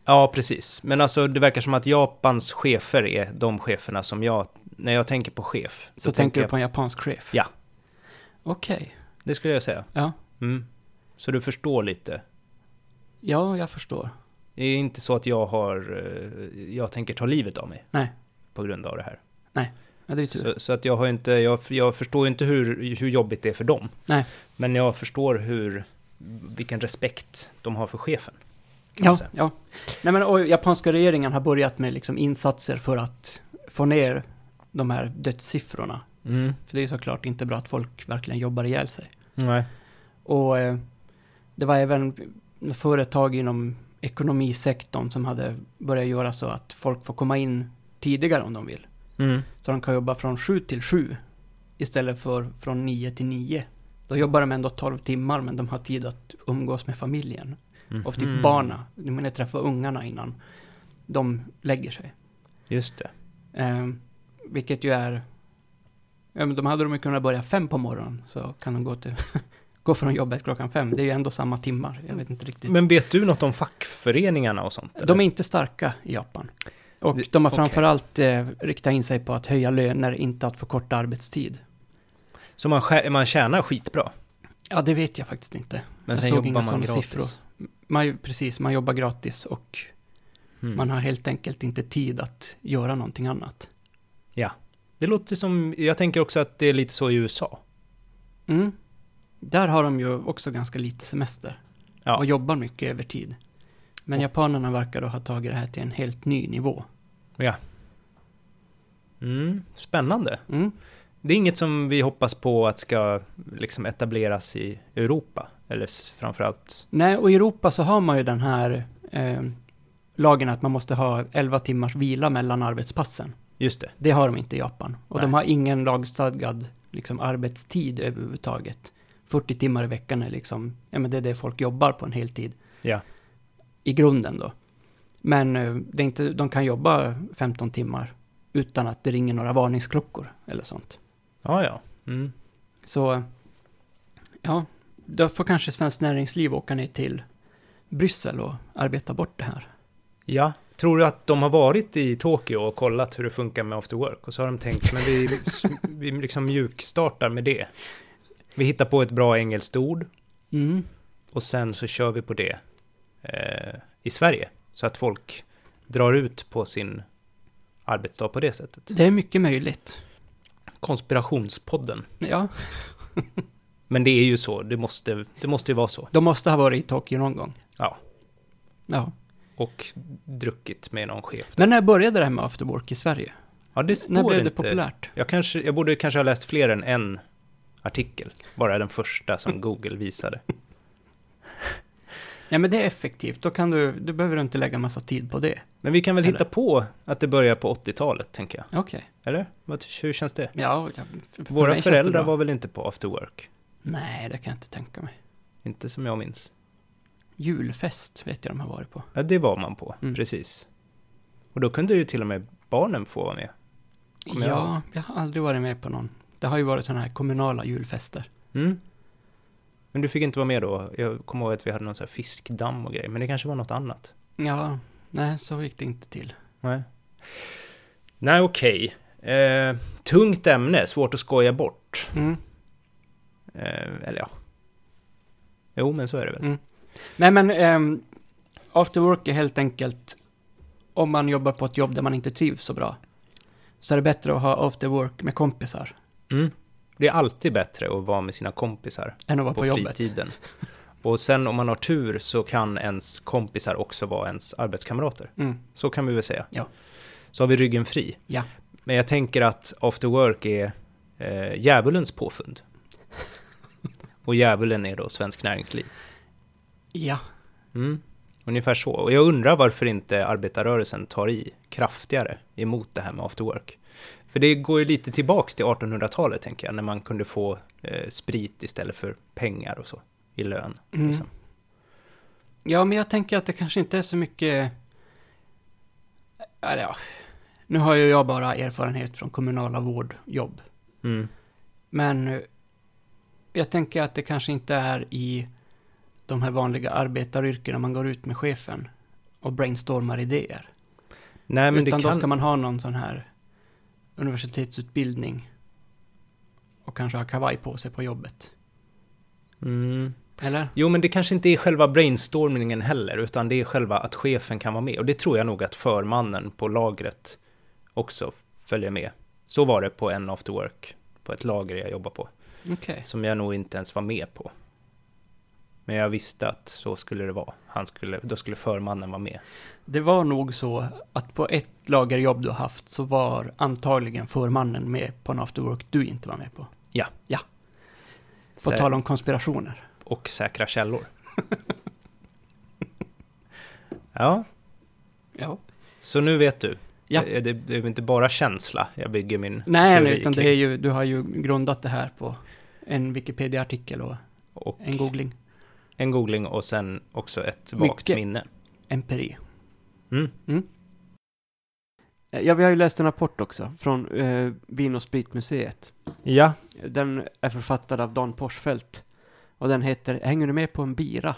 Speaker 3: Ja, precis. Men alltså det verkar som att Japans chefer är de cheferna som jag, när jag tänker på chef.
Speaker 1: Så
Speaker 3: då
Speaker 1: tänker du
Speaker 3: jag,
Speaker 1: på en japansk chef?
Speaker 3: Ja.
Speaker 1: Okej.
Speaker 3: Det skulle jag säga.
Speaker 1: Ja.
Speaker 3: Mm. Så du förstår lite.
Speaker 1: ja, jag förstår.
Speaker 3: Det är inte så att jag har, eh, jag tänker ta livet av mig.
Speaker 1: Nej.
Speaker 3: På grund av det här.
Speaker 1: Ja, det är ju tur.
Speaker 3: Så, så att jag har inte, jag, jag förstår ju inte hur, hur jobbigt det är för dem.
Speaker 1: Nej.
Speaker 3: Men jag förstår hur, vilken respekt de har för chefen. Kan man
Speaker 1: Ja,
Speaker 3: säga.
Speaker 1: ja. Nej, men, och japanska regeringen har börjat med liksom insatser för att få ner de här dödssiffrorna.
Speaker 3: Mm.
Speaker 1: För det är ju såklart inte bra att folk verkligen jobbar ihjäl sig.
Speaker 3: Nej.
Speaker 1: Och eh, det var även företag inom ekonomisektorn som hade börjat göra så att folk får komma in tidigare om de vill.
Speaker 3: Mm.
Speaker 1: Så de kan jobba från 7 till 7 istället för från 9 till 9. Då jobbar de ändå 12 timmar men de har tid att umgås med familjen. Och typ
Speaker 3: Mhm.
Speaker 1: barna, de menar träffa ungarna innan de lägger sig.
Speaker 3: Just det.
Speaker 1: Eh, vilket ju är... Ja, men de hade de ju kunnat börja fem på morgonen så kan de gå, till, *laughs* gå från jobbet klockan fem. Det är ju ändå samma timmar, jag vet inte riktigt.
Speaker 3: Men vet du något om fackföreningarna och sånt?
Speaker 1: de är inte starka i Japan. Och
Speaker 3: Det-
Speaker 1: de har
Speaker 3: okej.
Speaker 1: framförallt eh, riktat in sig på att höja löner, inte att förkorta arbetstid.
Speaker 3: Så man, skär- man tjänar skitbra,
Speaker 1: Ja, det vet jag faktiskt inte.
Speaker 3: men
Speaker 1: Jag
Speaker 3: sen
Speaker 1: såg
Speaker 3: jobbar
Speaker 1: inga
Speaker 3: man
Speaker 1: sådana
Speaker 3: gratis.
Speaker 1: siffror. Man, ju- precis, man jobbar gratis och
Speaker 3: Mm.
Speaker 1: man har helt enkelt inte tid att göra någonting annat.
Speaker 3: Det låter som, jag tänker också att det är lite så i USA.
Speaker 1: Mm. Där har de ju också ganska lite semester
Speaker 3: Ja.
Speaker 1: och jobbar mycket övertid. Men
Speaker 3: Och-
Speaker 1: japanerna verkar då ha tagit det här till en helt ny nivå.
Speaker 3: Mm. Spännande.
Speaker 1: Mm.
Speaker 3: Det är inget som vi hoppas på att ska liksom etableras i Europa, eller s- framförallt.
Speaker 1: Nej, och i Europa så har man ju den här eh, lagen att man måste ha 11 timmars vila mellan arbetspassen.
Speaker 3: Just det.
Speaker 1: Det har de inte i Japan. Och de
Speaker 3: Nej.
Speaker 1: har ingen lagstadgad liksom, arbetstid överhuvudtaget. 40 timmar i veckan är liksom, ja men det är det folk jobbar på en heltid.
Speaker 3: Ja.
Speaker 1: I grunden då. Men eh, det är inte, de kan jobba 15 timmar utan att det ringer några varningsklockor eller sånt.
Speaker 3: Ja, ja. Mm.
Speaker 1: Så, ja, då får kanske Svenskt Näringsliv åka ner till Bryssel och arbeta bort det här.
Speaker 3: Ja, tror du att de har varit i Tokyo och kollat hur det funkar med after work? Och så har de tänkt, men vi, *laughs* vi liksom mjukstartar med det. Vi hittar på ett bra engelskt ord
Speaker 1: Mm.
Speaker 3: och sen så kör vi på det eh, i Sverige. Så att folk drar ut på sin arbetsdag på det sättet.
Speaker 1: Det är mycket möjligt.
Speaker 3: Konspirationspodden.
Speaker 1: Ja,
Speaker 3: Men det är ju så, det måste, det måste ju vara så.
Speaker 1: de måste ha varit i Tokyo någon gång.
Speaker 3: Ja.
Speaker 1: Ja.
Speaker 3: Och druckit med någon chef.
Speaker 1: Men när började det här med after work i Sverige?
Speaker 3: Ja, det står
Speaker 1: När blev det
Speaker 3: inte.
Speaker 1: populärt?
Speaker 3: Jag, kanske, jag borde kanske ha läst fler än en artikel, bara den
Speaker 1: *laughs*
Speaker 3: första som Google visade.
Speaker 1: Ja, men det är effektivt. Då kan du, du behöver du inte lägga massa tid på det.
Speaker 3: Men vi kan väl
Speaker 1: Eller?
Speaker 3: hitta på att det börjar på 80-talet, tänker jag.
Speaker 1: Okej.
Speaker 3: Eller? Vad- Hur känns det?
Speaker 1: Ja, ja, för, för
Speaker 3: Våra
Speaker 1: mig känns det bra.
Speaker 3: föräldrar var väl inte på after work?
Speaker 1: Nej, det kan jag inte tänka mig.
Speaker 3: Inte som jag minns.
Speaker 1: Julfest vet jag de har varit på.
Speaker 3: Ja, det var man på,
Speaker 1: Mm.
Speaker 3: precis. Och då kunde ju till och med barnen få vara med. Kommer jag
Speaker 1: ja, jag har aldrig varit med på någon. Det har ju varit sådana här kommunala julfester.
Speaker 3: Mm. Men du fick inte vara med då? Jag kommer ihåg att vi hade någon sån här fiskdamm och grejer, men det kanske var något annat?
Speaker 1: Ja, nej, så gick det inte till.
Speaker 3: Nej. Nej, okej. Eh, tungt ämne, svårt att skoja bort.
Speaker 1: Mm.
Speaker 3: Eh, eller ja. Jo, men så är det väl.
Speaker 1: Mm. Nej, men ehm, after work är helt enkelt om man jobbar på ett jobb där man inte trivs så bra. Så är det bättre att ha after work med kompisar
Speaker 3: Mm. Det är alltid bättre att vara med sina kompisar
Speaker 1: än att vara
Speaker 3: på,
Speaker 1: på, jobbet.
Speaker 3: fritiden. Och sen om man har tur så kan ens kompisar också vara ens arbetskamrater.
Speaker 1: Mm.
Speaker 3: Så kan vi väl säga.
Speaker 1: Ja.
Speaker 3: Så har vi ryggen fri.
Speaker 1: Ja.
Speaker 3: Men jag tänker att after work är eh,
Speaker 1: *laughs*
Speaker 3: djävulens påfund. Och djävulen är då Svensk Näringsliv.
Speaker 1: Ja.
Speaker 3: Mm. Ungefär så. Och jag undrar varför inte arbetarrörelsen tar i kraftigare emot det här med after work. För det går ju lite tillbaks till 1800-talet, tänker jag, när man kunde få eh, sprit istället för pengar och så i lön.
Speaker 1: Mm.
Speaker 3: liksom.
Speaker 1: Ja, men jag tänker att det kanske inte är så mycket... Eller ja, nu har ju jag bara erfarenhet från kommunala vårdjobb.
Speaker 3: Mm.
Speaker 1: Men eh, jag tänker att det kanske inte är i de här vanliga arbetaryrkena man går ut med chefen och brainstormar idéer.
Speaker 3: Nej, men
Speaker 1: Utan
Speaker 3: det kan...
Speaker 1: då ska man ha någon sån här universitetsutbildning och kanske ha kavaj på sig på jobbet.
Speaker 3: Mm.
Speaker 1: Eller?
Speaker 3: Jo, men det kanske inte är själva brainstormningen heller, utan det är själva att chefen kan vara med. Och det tror jag nog att förmannen på lagret också följer med. Så var det på en after work, på ett lager jag jobbar på.
Speaker 1: Okej.
Speaker 3: Som jag nog inte ens var med på. Men jag visste att så skulle det vara. Han skulle, då skulle förmannen vara med.
Speaker 1: Det var nog så att på ett lagerjobb du har haft så var antagligen förmannen med på en afterwork du inte var med på. På
Speaker 3: Sä-
Speaker 1: tal om konspirationer.
Speaker 3: Och säkra källor. *laughs* ja,
Speaker 1: Ja.
Speaker 3: så nu vet du.
Speaker 1: Ja.
Speaker 3: Det, det, det är inte bara känsla jag bygger min
Speaker 1: Nej,
Speaker 3: teori
Speaker 1: nej, utan
Speaker 3: kring.
Speaker 1: det är ju, du har ju grundat det här på en Wikipedia-artikel och
Speaker 3: Och
Speaker 1: en googling.
Speaker 3: en googling och sen också ett vagt
Speaker 1: Mycket.
Speaker 3: minne.
Speaker 1: Empiri.
Speaker 3: Mm.
Speaker 1: Eh, Ja, vi har ju läst en rapport också från eh, Vin och spritmuseet.
Speaker 2: Ja,
Speaker 1: Den är författad av Dan Porsfeldt och den heter Hänger du med på en bira?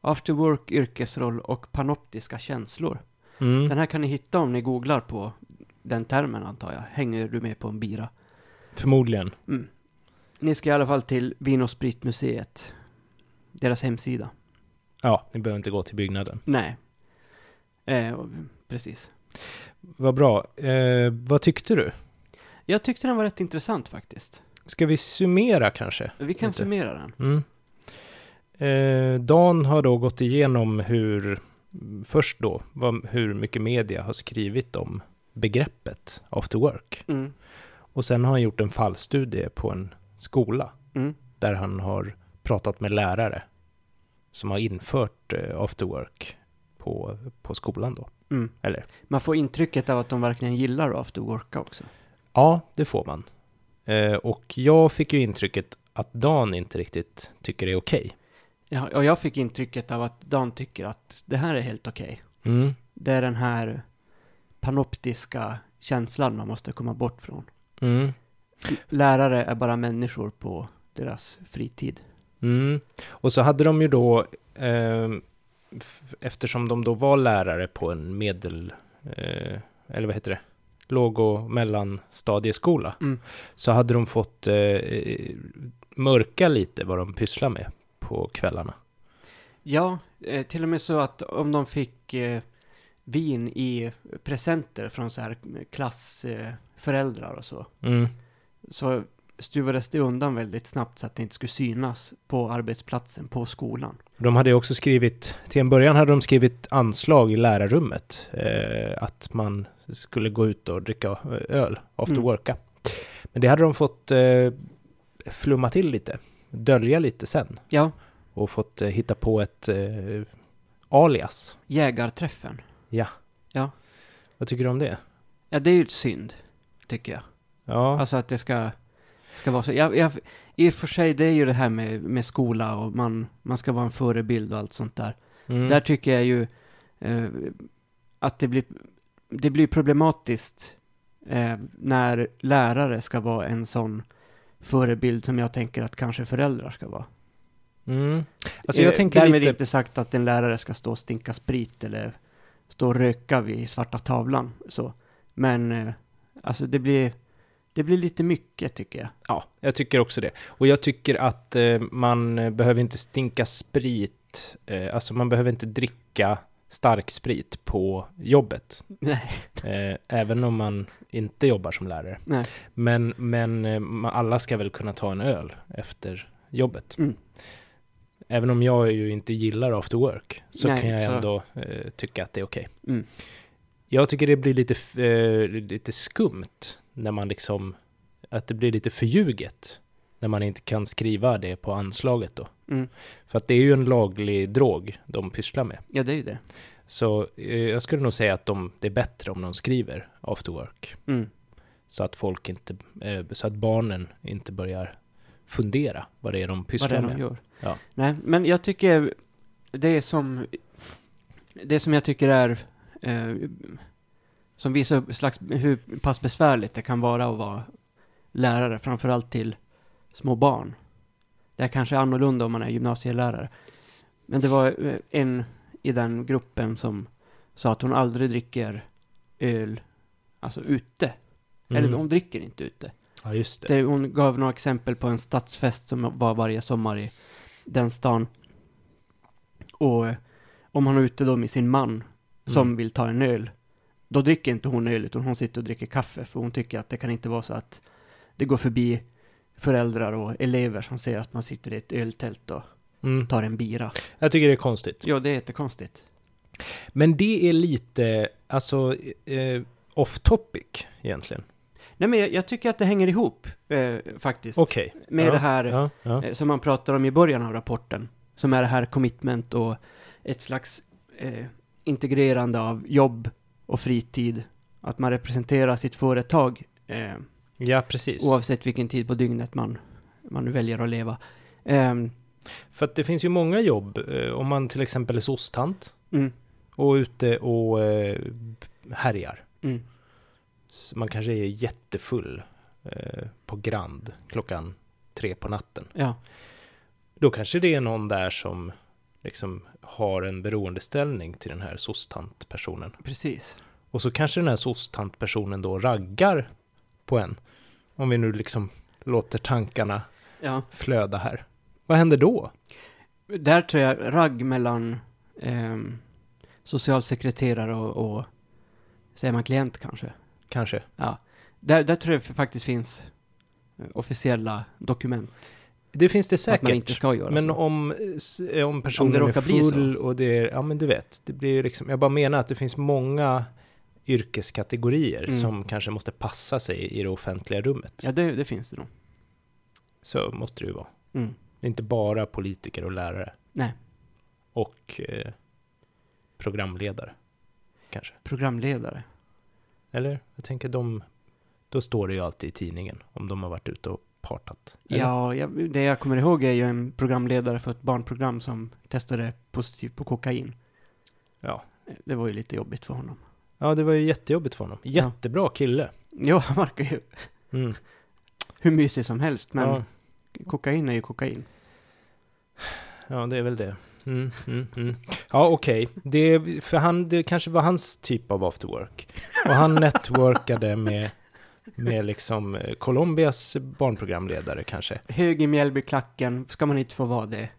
Speaker 1: After work, yrkesroll och panoptiska känslor.
Speaker 2: mm.
Speaker 1: Den här kan ni hitta om ni googlar på den termen antar jag. Hänger du med på en bira?
Speaker 2: förmodligen.
Speaker 1: Mm. Ni ska i alla fall till Vin och spritmuseet. Deras hemsida.
Speaker 2: Ja, ni behöver inte gå till byggnaden.
Speaker 1: Nej. Eh, och- precis.
Speaker 2: Vad bra. Eh, vad tyckte du?
Speaker 1: Jag tyckte den var rätt intressant faktiskt.
Speaker 2: Ska vi summera kanske?
Speaker 1: Vi kan
Speaker 2: Lite.
Speaker 1: summera den.
Speaker 2: Mm. Eh, Dan har då gått igenom hur, först då, vad, hur mycket media har skrivit om begreppet after work.
Speaker 1: Mm.
Speaker 2: Och sen har han gjort en fallstudie på en skola
Speaker 1: Mm.
Speaker 2: där han har pratat med lärare som har infört eh, after work på, på skolan då.
Speaker 1: Mm.
Speaker 2: Eller?
Speaker 1: Man får intrycket av att de verkligen gillar after work också.
Speaker 2: Ja, det får man. Eh, och jag fick ju intrycket att Dan inte riktigt tycker det är okej.
Speaker 1: Ja, och jag fick intrycket av att Dan tycker att det här är helt okej.
Speaker 2: Mm.
Speaker 1: Det är den här panoptiska känslan man måste komma bort från.
Speaker 2: Mm.
Speaker 1: Lärare är bara människor på deras fritid.
Speaker 2: Mm. Och så hade de ju då, eh, f- eftersom de då var lärare på en medel, eh, eller vad heter det, låg och mellanstadieskola,
Speaker 1: Mm.
Speaker 2: så hade de fått eh, eh, mörka lite vad de pysslar med på kvällarna.
Speaker 1: Ja, eh, till och med så att om de fick eh, vin i presenter från så här klassföräldrar eh, föräldrar och så,
Speaker 2: Mm.
Speaker 1: så stuvades det undan väldigt snabbt så att det inte skulle synas på arbetsplatsen, på skolan.
Speaker 2: De hade ju också skrivit, till en början hade de skrivit anslag i lärarrummet, eh, att man skulle gå ut och dricka eh, öl, after
Speaker 1: Mm.
Speaker 2: worka. Men det hade de fått eh, flumma till lite, dölja lite sen
Speaker 1: Ja,
Speaker 2: och fått eh, hitta på ett eh, alias.
Speaker 1: jägarträffen.
Speaker 2: Vad tycker du om det?
Speaker 1: Ja, det är ju ett synd, tycker jag.
Speaker 2: Ja,
Speaker 1: Alltså att det ska, ska vara så. Jag, jag, I och för sig, det är ju det här med, med skola och man, man ska vara en förebild och allt sånt där.
Speaker 2: mm,
Speaker 1: Där tycker jag ju eh, att det blir, det blir problematiskt eh, när lärare ska vara en sån förebild som jag tänker att kanske föräldrar ska vara.
Speaker 2: mm. Alltså jag
Speaker 1: Eh,
Speaker 2: tänker
Speaker 1: Därmed
Speaker 2: lite...
Speaker 1: inte sagt att en lärare ska stå och stinka sprit eller stå och röka vid svarta tavlan. Så. Men eh, alltså det blir, det blir lite mycket tycker jag.
Speaker 2: Ja, jag tycker också det. Och jag tycker att eh, man eh, behöver inte stinka sprit sprit. Eh, alltså man behöver inte dricka stark sprit på jobbet.
Speaker 1: Nej.
Speaker 2: Eh, även om man inte jobbar som lärare.
Speaker 1: Nej.
Speaker 2: Men, men eh, ma- alla ska väl kunna ta en öl efter jobbet.
Speaker 1: Mm.
Speaker 2: Även om jag ju inte gillar after work så
Speaker 1: Nej,
Speaker 2: kan jag
Speaker 1: så-
Speaker 2: ändå eh, tycka att det är okej.
Speaker 1: Mm.
Speaker 2: Jag tycker det blir lite, f- eh, lite skumt när man liksom, att det blir lite förljuget när man inte kan skriva det på anslaget då.
Speaker 1: Mm.
Speaker 2: För att det är ju en laglig drog de pysslar med.
Speaker 1: Ja, det är ju det.
Speaker 2: Så eh, jag skulle nog säga att de, det är bättre om de skriver after work.
Speaker 1: Mm.
Speaker 2: Så att folk inte, eh, så att barnen inte börjar fundera vad det är de pysslar
Speaker 1: Vad det är
Speaker 2: med.
Speaker 1: de gör.
Speaker 2: Ja.
Speaker 1: Nej, men jag tycker det som, det som jag tycker är, eh, som visar upp slags, hur pass besvärligt det kan vara att vara lärare, framförallt till små barn. Det är kanske annorlunda om man är gymnasielärare. Men det var eh, en i den gruppen som sa att hon aldrig dricker öl, alltså ute. Eller
Speaker 2: Mm.
Speaker 1: hon dricker inte ute.
Speaker 2: Ja, just det.
Speaker 1: Det, hon gav några exempel på en stadsfest som var varje sommar i den stan. Och eh, om han är ute då med sin man som
Speaker 2: Mm.
Speaker 1: vill ta en öl, då dricker inte hon öl utan hon sitter och dricker kaffe för hon tycker att det kan inte vara så att det går förbi föräldrar och elever som ser att man sitter i ett öltält och
Speaker 2: Mm.
Speaker 1: tar en bira.
Speaker 2: Jag tycker det är konstigt.
Speaker 1: Ja, det är jättekonstigt.
Speaker 2: Men det är lite, alltså, eh, off topic egentligen.
Speaker 1: Nej, men jag, jag tycker att det hänger ihop eh, faktiskt.
Speaker 2: Okej.
Speaker 1: med
Speaker 2: ja,
Speaker 1: det här
Speaker 2: Ja, ja.
Speaker 1: eh, som man pratar om i början av rapporten, som är det här commitment och ett slags eh, integrerande av jobb och fritid, att man representerar sitt företag eh,
Speaker 2: ja, precis.
Speaker 1: oavsett vilken tid på dygnet man, man nu väljer att leva. Ehm,
Speaker 2: För att det finns ju många jobb, eh, om man till exempel är sostant
Speaker 1: mm,
Speaker 2: och ute och eh, härjar.
Speaker 1: mm,
Speaker 2: Så Man kanske är jättefull eh, på Grand klockan tre på natten.
Speaker 1: ja,
Speaker 2: Då kanske det är någon där som liksom har en beroendeställning till den här sostant-personen.
Speaker 1: precis.
Speaker 2: Och så kanske den här sostant-personen då raggar på en. Om vi nu liksom låter tankarna
Speaker 1: Ja.
Speaker 2: flöda här. Vad händer då?
Speaker 1: Där tror jag ragg mellan ehm, socialsekreterare och, och, säger man klient kanske?
Speaker 2: Kanske.
Speaker 1: Där, där tror jag faktiskt finns eh, officiella dokument
Speaker 2: Det finns det
Speaker 1: Att man
Speaker 2: säkert.
Speaker 1: inte ska göra
Speaker 2: Men
Speaker 1: så.
Speaker 2: om, s- om personen är
Speaker 1: råkar bli så.
Speaker 2: full och det är, ja men du vet, det blir ju liksom, jag bara menar att det finns många yrkeskategorier
Speaker 1: Mm.
Speaker 2: som kanske måste passa sig i det offentliga rummet.
Speaker 1: Ja, det, det finns det nog.
Speaker 2: Så måste det ju vara.
Speaker 1: Mm.
Speaker 2: Det är inte bara politiker och lärare.
Speaker 1: Nej.
Speaker 2: Och eh, programledare, kanske.
Speaker 1: Programledare.
Speaker 2: Eller? Jag tänker de, då står det ju alltid i tidningen om de har varit ute och partat. Eller?
Speaker 1: Ja, jag, det jag kommer ihåg är ju en programledare för ett barnprogram som testade positivt på kokain.
Speaker 2: Ja.
Speaker 1: Det var ju lite jobbigt för honom. *laughs*
Speaker 2: ja, det var ju jättejobbigt för honom.
Speaker 1: Ja.
Speaker 2: Jättebra kille.
Speaker 1: Jo, han verkar ju
Speaker 2: Mm.
Speaker 1: *laughs* hur mysig som helst, men
Speaker 2: Ja,
Speaker 1: kokain är ju kokain.
Speaker 2: ja, det är väl det. Mm, mm, mm. Ja, okej. Det, för han, det kanske var hans typ av after work. Och han *laughs* networkade med, med liksom eh, Colombias barnprogramledare kanske.
Speaker 1: Hög i Mjällbyklacken, ska man inte få vara det?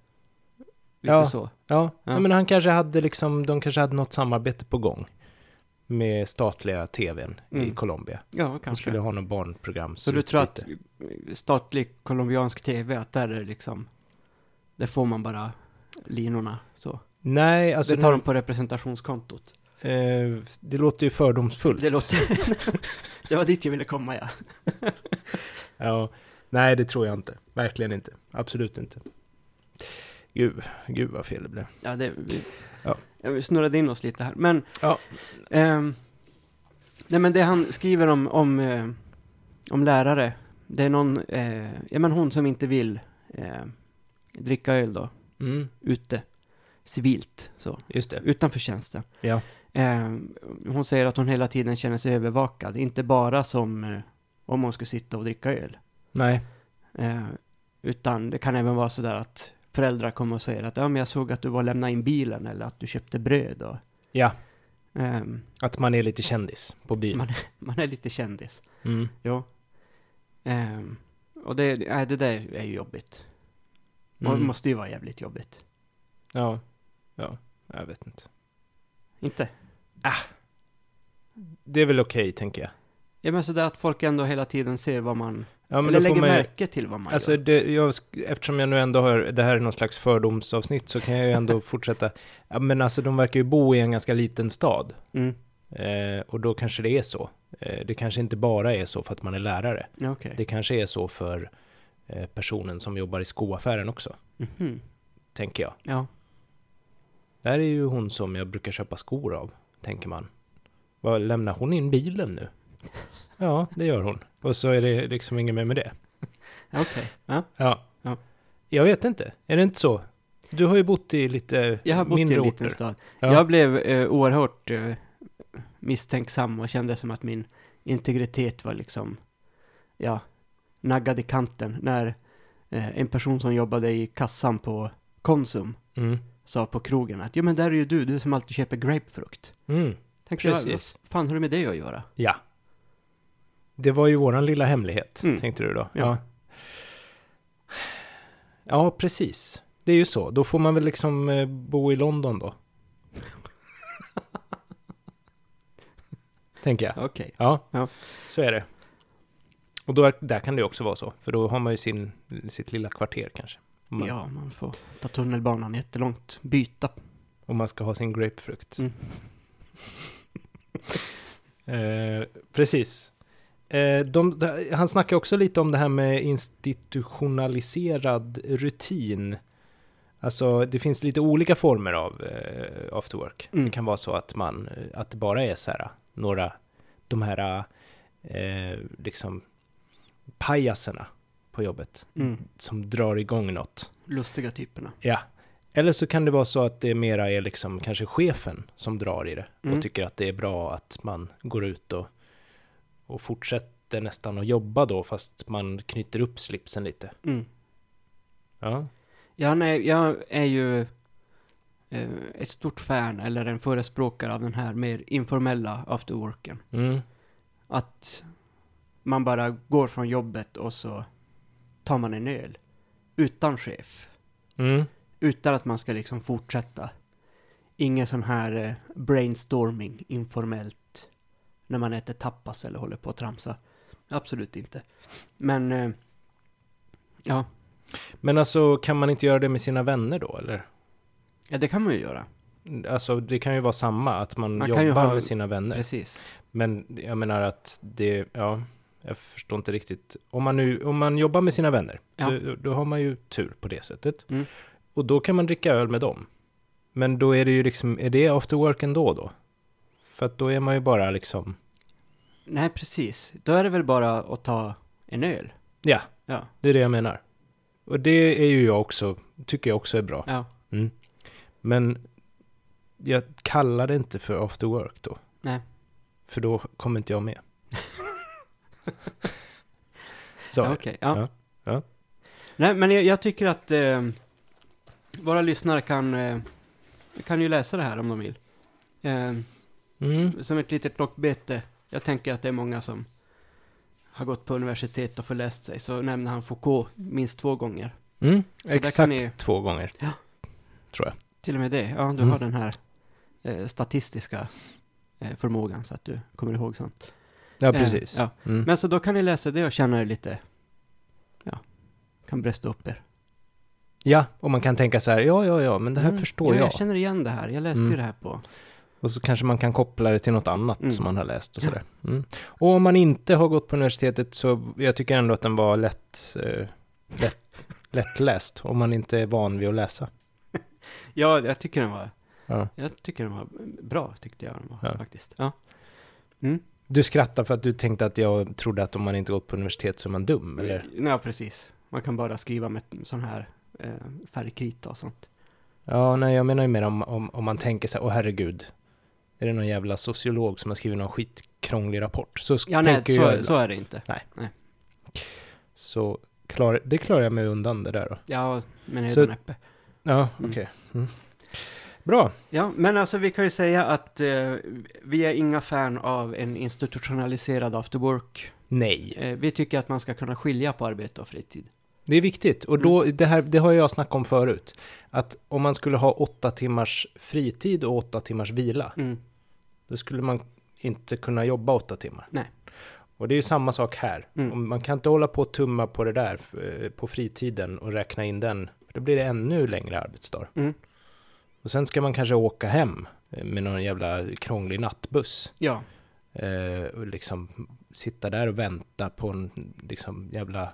Speaker 1: Lite
Speaker 2: Ja.
Speaker 1: så.
Speaker 2: Ja,
Speaker 1: Ja.
Speaker 2: ja. men han kanske hade liksom, de kanske hade något samarbete på gång med statliga tvn i
Speaker 1: Mm.
Speaker 2: Colombia.
Speaker 1: Ja,
Speaker 2: De skulle
Speaker 1: kanske.
Speaker 2: ha något barnprogram.
Speaker 1: Så du tror att statlig colombiansk tv, att där är det liksom, där får man bara linorna så.
Speaker 2: Nej, alltså...
Speaker 1: det tar de på representationskontot.
Speaker 2: eh, det låter ju fördomsfullt.
Speaker 1: Det låter...
Speaker 2: *laughs*
Speaker 1: det var dit jag ville komma, ja.
Speaker 2: Ja, nej, det tror jag inte. Verkligen inte. Absolut inte. Gud, gud vad fel det blev.
Speaker 1: Ja, det... Vi,
Speaker 2: Ja.
Speaker 1: Vi snurrade in oss lite här, men...
Speaker 2: Ja.
Speaker 1: ehm, nej, men det han skriver om, om, eh, om lärare, det är någon, eh, ja men hon som inte vill eh, dricka öl då,
Speaker 2: Mm,
Speaker 1: ute, civilt så.
Speaker 2: just det.
Speaker 1: utanför tjänsten.
Speaker 2: Ja.
Speaker 1: Eh, hon säger att hon hela tiden känner sig övervakad, inte bara som eh, om hon skulle sitta och dricka öl.
Speaker 2: Nej,
Speaker 1: Eh, utan det kan även vara sådär att föräldrar kommer och säger att ja, men jag såg att du var och lämnade in bilen eller att du köpte bröd. Och,
Speaker 2: ja.
Speaker 1: ehm,
Speaker 2: Att man är lite kändis på byn.
Speaker 1: man är lite kändis.
Speaker 2: Mm.
Speaker 1: Ja. Ehm, och det, nej, det där är ju jobbigt. Och
Speaker 2: Mm.
Speaker 1: måste ju vara jävligt jobbigt.
Speaker 2: Ja. Ja, jag vet inte.
Speaker 1: Inte?
Speaker 2: Det är väl okej, tänker jag.
Speaker 1: Ja, men sådär att folk ändå hela tiden ser vad man...
Speaker 2: Ja, men då
Speaker 1: eller
Speaker 2: får
Speaker 1: lägger
Speaker 2: man ju,
Speaker 1: märke till vad man
Speaker 2: alltså,
Speaker 1: gör.
Speaker 2: det, jag, sk- eftersom jag nu ändå har, det här är någon slags fördomsavsnitt, så kan jag ju
Speaker 1: *laughs*
Speaker 2: ändå fortsätta. Ja, men alltså, de verkar ju bo i en ganska liten stad.
Speaker 1: Mm.
Speaker 2: Eh, och då kanske det är så. Eh, det kanske inte bara är så för att man är lärare.
Speaker 1: Ja, okej.
Speaker 2: Det kanske är så för eh, personen som jobbar i skoaffären också,
Speaker 1: Mhm.
Speaker 2: tänker jag.
Speaker 1: Ja.
Speaker 2: Där är ju hon som jag brukar köpa skor av, tänker man. Vad lämnar hon in bilen nu? Ja, det gör hon. Och så är det liksom inget mer med det.
Speaker 1: Ja, Okej. Ja.
Speaker 2: Ja.
Speaker 1: Ja.
Speaker 2: Jag vet inte. Är det inte så? Du har ju bott i lite
Speaker 1: Jag har bott i en
Speaker 2: mindre
Speaker 1: liten
Speaker 2: orter.
Speaker 1: stad.
Speaker 2: Ja.
Speaker 1: Jag blev eh, oerhört eh, misstänksam och kände som att min integritet var liksom, ja, naggad i kanten när eh, en person som jobbade i kassan på Konsum
Speaker 2: Mm.
Speaker 1: sa på krogen att ja men där är ju du, du som alltid köper grapefrukt.
Speaker 2: Mm.
Speaker 1: Tänkte jag, vad
Speaker 2: Precis.
Speaker 1: fan har det med det att göra?
Speaker 2: Ja. Det var ju våran lilla hemlighet,
Speaker 1: Mm.
Speaker 2: tänkte du då.
Speaker 1: Ja.
Speaker 2: ja. Ja, precis. Det är ju så. Då får man väl liksom eh, bo i London då. Tänker jag.
Speaker 1: Okej.
Speaker 2: Ja,
Speaker 1: Ja.
Speaker 2: så är det. Och då, är- där kan det ju också vara så, för då har man ju sin, sitt lilla kvarter kanske. Om man,
Speaker 1: Ja, man får ta tunnelbanan jättelångt, byta.
Speaker 2: om man ska ha sin grapefrukt.
Speaker 1: Mm.
Speaker 2: *laughs* eh, precis. Eh, de, de, han snackar också lite om det här med institutionaliserad rutin. Alltså, det finns lite olika former av eh, after work.
Speaker 1: Mm.
Speaker 2: Det kan vara så att, man, eh, att det bara är så här, några, de här, eh, liksom, pajaserna på jobbet
Speaker 1: Mm.
Speaker 2: som drar igång något.
Speaker 1: Lustiga typerna.
Speaker 2: Ja. Eller så kan det vara så att det mera är liksom kanske chefen som drar i det
Speaker 1: Mm.
Speaker 2: och tycker att det är bra att man går ut och, och fortsätter nästan att jobba då fast man knyter upp slipsen lite.
Speaker 1: Mm.
Speaker 2: Ja.
Speaker 1: Ja, nej, jag är ju eh, ett stort fan eller en förespråkare av den här mer informella afterworken.
Speaker 2: Mm.
Speaker 1: Att man bara går från jobbet och så tar man en öl. Utan chef.
Speaker 2: Mm.
Speaker 1: Utan att man ska liksom fortsätta. Ingen sån här eh, brainstorming informellt. När man äter tapas eller håller på att tramsa. Absolut inte. Men, eh, ja,
Speaker 2: Men alltså kan man inte göra det med sina vänner då eller?
Speaker 1: ja, det kan man ju göra.
Speaker 2: Alltså det kan ju vara samma att man,
Speaker 1: Man kan ju
Speaker 2: jobbar
Speaker 1: ha-
Speaker 2: med sina vänner.
Speaker 1: Precis.
Speaker 2: Men jag menar att det, ja, jag förstår inte riktigt. Om man nu, om man jobbar med sina vänner,
Speaker 1: Ja.
Speaker 2: då, då har man ju tur på det sättet.
Speaker 1: Mm.
Speaker 2: Och då kan man dricka öl med dem. Men då är det ju liksom, är det after work ändå då? För att då är man ju bara liksom,
Speaker 1: Nej, precis. Då är det väl bara att ta en öl.
Speaker 2: ja,
Speaker 1: Ja.
Speaker 2: det är det jag menar. Och det är ju jag också, tycker jag också är bra.
Speaker 1: Ja.
Speaker 2: Mm. Men jag kallar det inte för after work då.
Speaker 1: Nej.
Speaker 2: För då kommer inte jag med. Så,
Speaker 1: ja Okej. Ja.
Speaker 2: Ja. Ja.
Speaker 1: Nej, men jag, jag tycker att eh, våra lyssnare kan, eh, kan ju läsa det här om de vill. Eh,
Speaker 2: mm.
Speaker 1: som ett litet lockbete. Jag tänker att det är många som har gått på universitet och förläst sig. Så nämner han Foucault minst två gånger.
Speaker 2: Mm,
Speaker 1: där
Speaker 2: exakt
Speaker 1: kan ni-
Speaker 2: två gånger.
Speaker 1: Ja.
Speaker 2: Tror jag.
Speaker 1: Till och med det. Ja, du
Speaker 2: Mm.
Speaker 1: har den här eh, statistiska eh, förmågan så att du kommer ihåg sånt.
Speaker 2: Ja,
Speaker 1: Eh,
Speaker 2: precis.
Speaker 1: ja.
Speaker 2: Mm.
Speaker 1: Men så då kan ni läsa det och känna er lite, ja, kan brösta upp er.
Speaker 2: ja, och man kan tänka så här, ja, ja, ja, men det här
Speaker 1: Mm.
Speaker 2: förstår
Speaker 1: ja,
Speaker 2: jag.
Speaker 1: Jag känner igen det här, jag läste ju
Speaker 2: Mm.
Speaker 1: det här på.
Speaker 2: Och så kanske man kan koppla det till något annat
Speaker 1: Mm.
Speaker 2: som man har läst och sådär. Mm. Och om man inte har gått på universitetet så, jag tycker ändå att den var lätt, eh, lätt lättläst, om man inte är van vid att läsa.
Speaker 1: Ja, jag tycker den var,
Speaker 2: Ja.
Speaker 1: jag tycker den var bra, tyckte jag den var
Speaker 2: Ja.
Speaker 1: faktiskt. Ja.
Speaker 2: Du skrattar för att du tänkte att jag trodde att om man inte gått på universitet så är man dum, eller?
Speaker 1: ja, precis. Man kan bara skriva med sån här eh, färgkrita och sånt.
Speaker 2: Ja, nej, jag menar ju mer om, om, om man tänker så här, åh herregud, är det någon jävla sociolog som har skrivit någon skitkrånglig rapport? Så sk-
Speaker 1: Ja, nej,
Speaker 2: tänker jag
Speaker 1: så,
Speaker 2: ibland.
Speaker 1: så är det inte.
Speaker 2: Så klar, det klarar jag mig undan det där då.
Speaker 1: Ja, men
Speaker 2: Så-
Speaker 1: är näppe.
Speaker 2: Ja,
Speaker 1: Mm.
Speaker 2: okej. Mm. Bra.
Speaker 1: Ja, men alltså vi kan ju säga att eh, vi är inga fan av en institutionaliserad after work.
Speaker 2: Nej.
Speaker 1: Eh, vi tycker att man ska kunna skilja på arbete och fritid.
Speaker 2: Det är viktigt. Och då,
Speaker 1: Mm.
Speaker 2: det, här, det har jag snackat om förut. Att om man skulle ha åtta timmars fritid och åtta timmars vila,
Speaker 1: Mm.
Speaker 2: då skulle man inte kunna jobba åtta timmar.
Speaker 1: Nej.
Speaker 2: Och det är ju samma sak här.
Speaker 1: Mm.
Speaker 2: Om Man kan inte hålla på och tumma på det där eh, på fritiden och räkna in den. För då blir det ännu längre arbetsdag.
Speaker 1: Mm.
Speaker 2: Och sen ska man kanske åka hem eh, med någon jävla krånglig nattbuss.
Speaker 1: Ja.
Speaker 2: Eh, och liksom sitta där och vänta på en liksom, jävla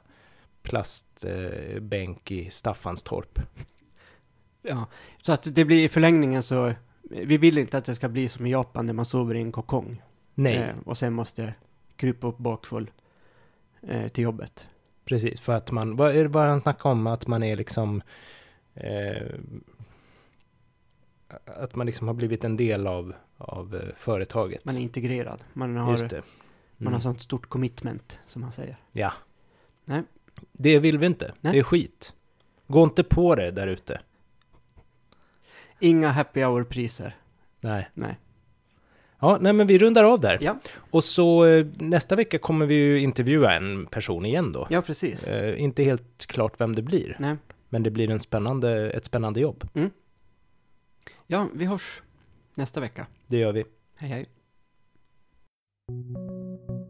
Speaker 2: plastbänk eh, bänk i Staffanstorp.
Speaker 1: ja. Så att det blir i förlängningen så, vi vill inte att det ska bli som i Japan där man sover i en kokong.
Speaker 2: Nej,
Speaker 1: Eh, och sen måste krypa upp bakfull eh, till jobbet.
Speaker 2: precis. För att man, vad är det bara han snackar om? Att man är liksom... Eh, att man liksom har blivit en del av, av eh, företaget.
Speaker 1: Man är integrerad. Man har,
Speaker 2: Just det.
Speaker 1: man har
Speaker 2: Mm.
Speaker 1: sånt stort commitment, som man säger.
Speaker 2: Ja.
Speaker 1: Nej.
Speaker 2: Det vill vi inte.
Speaker 1: Nej.
Speaker 2: Det är skit. Gå inte på det där ute.
Speaker 1: Inga happy hour-priser.
Speaker 2: Nej.
Speaker 1: Nej.
Speaker 2: Ja, nej men vi rundar av där.
Speaker 1: Ja.
Speaker 2: Och så eh, nästa vecka kommer vi ju intervjua en person igen då.
Speaker 1: Ja, precis.
Speaker 2: Eh, inte helt klart vem det blir,
Speaker 1: Nej.
Speaker 2: men det blir en spännande, ett spännande jobb.
Speaker 1: Ja, vi hörs nästa vecka.
Speaker 2: Det gör vi.
Speaker 1: Hej, hej.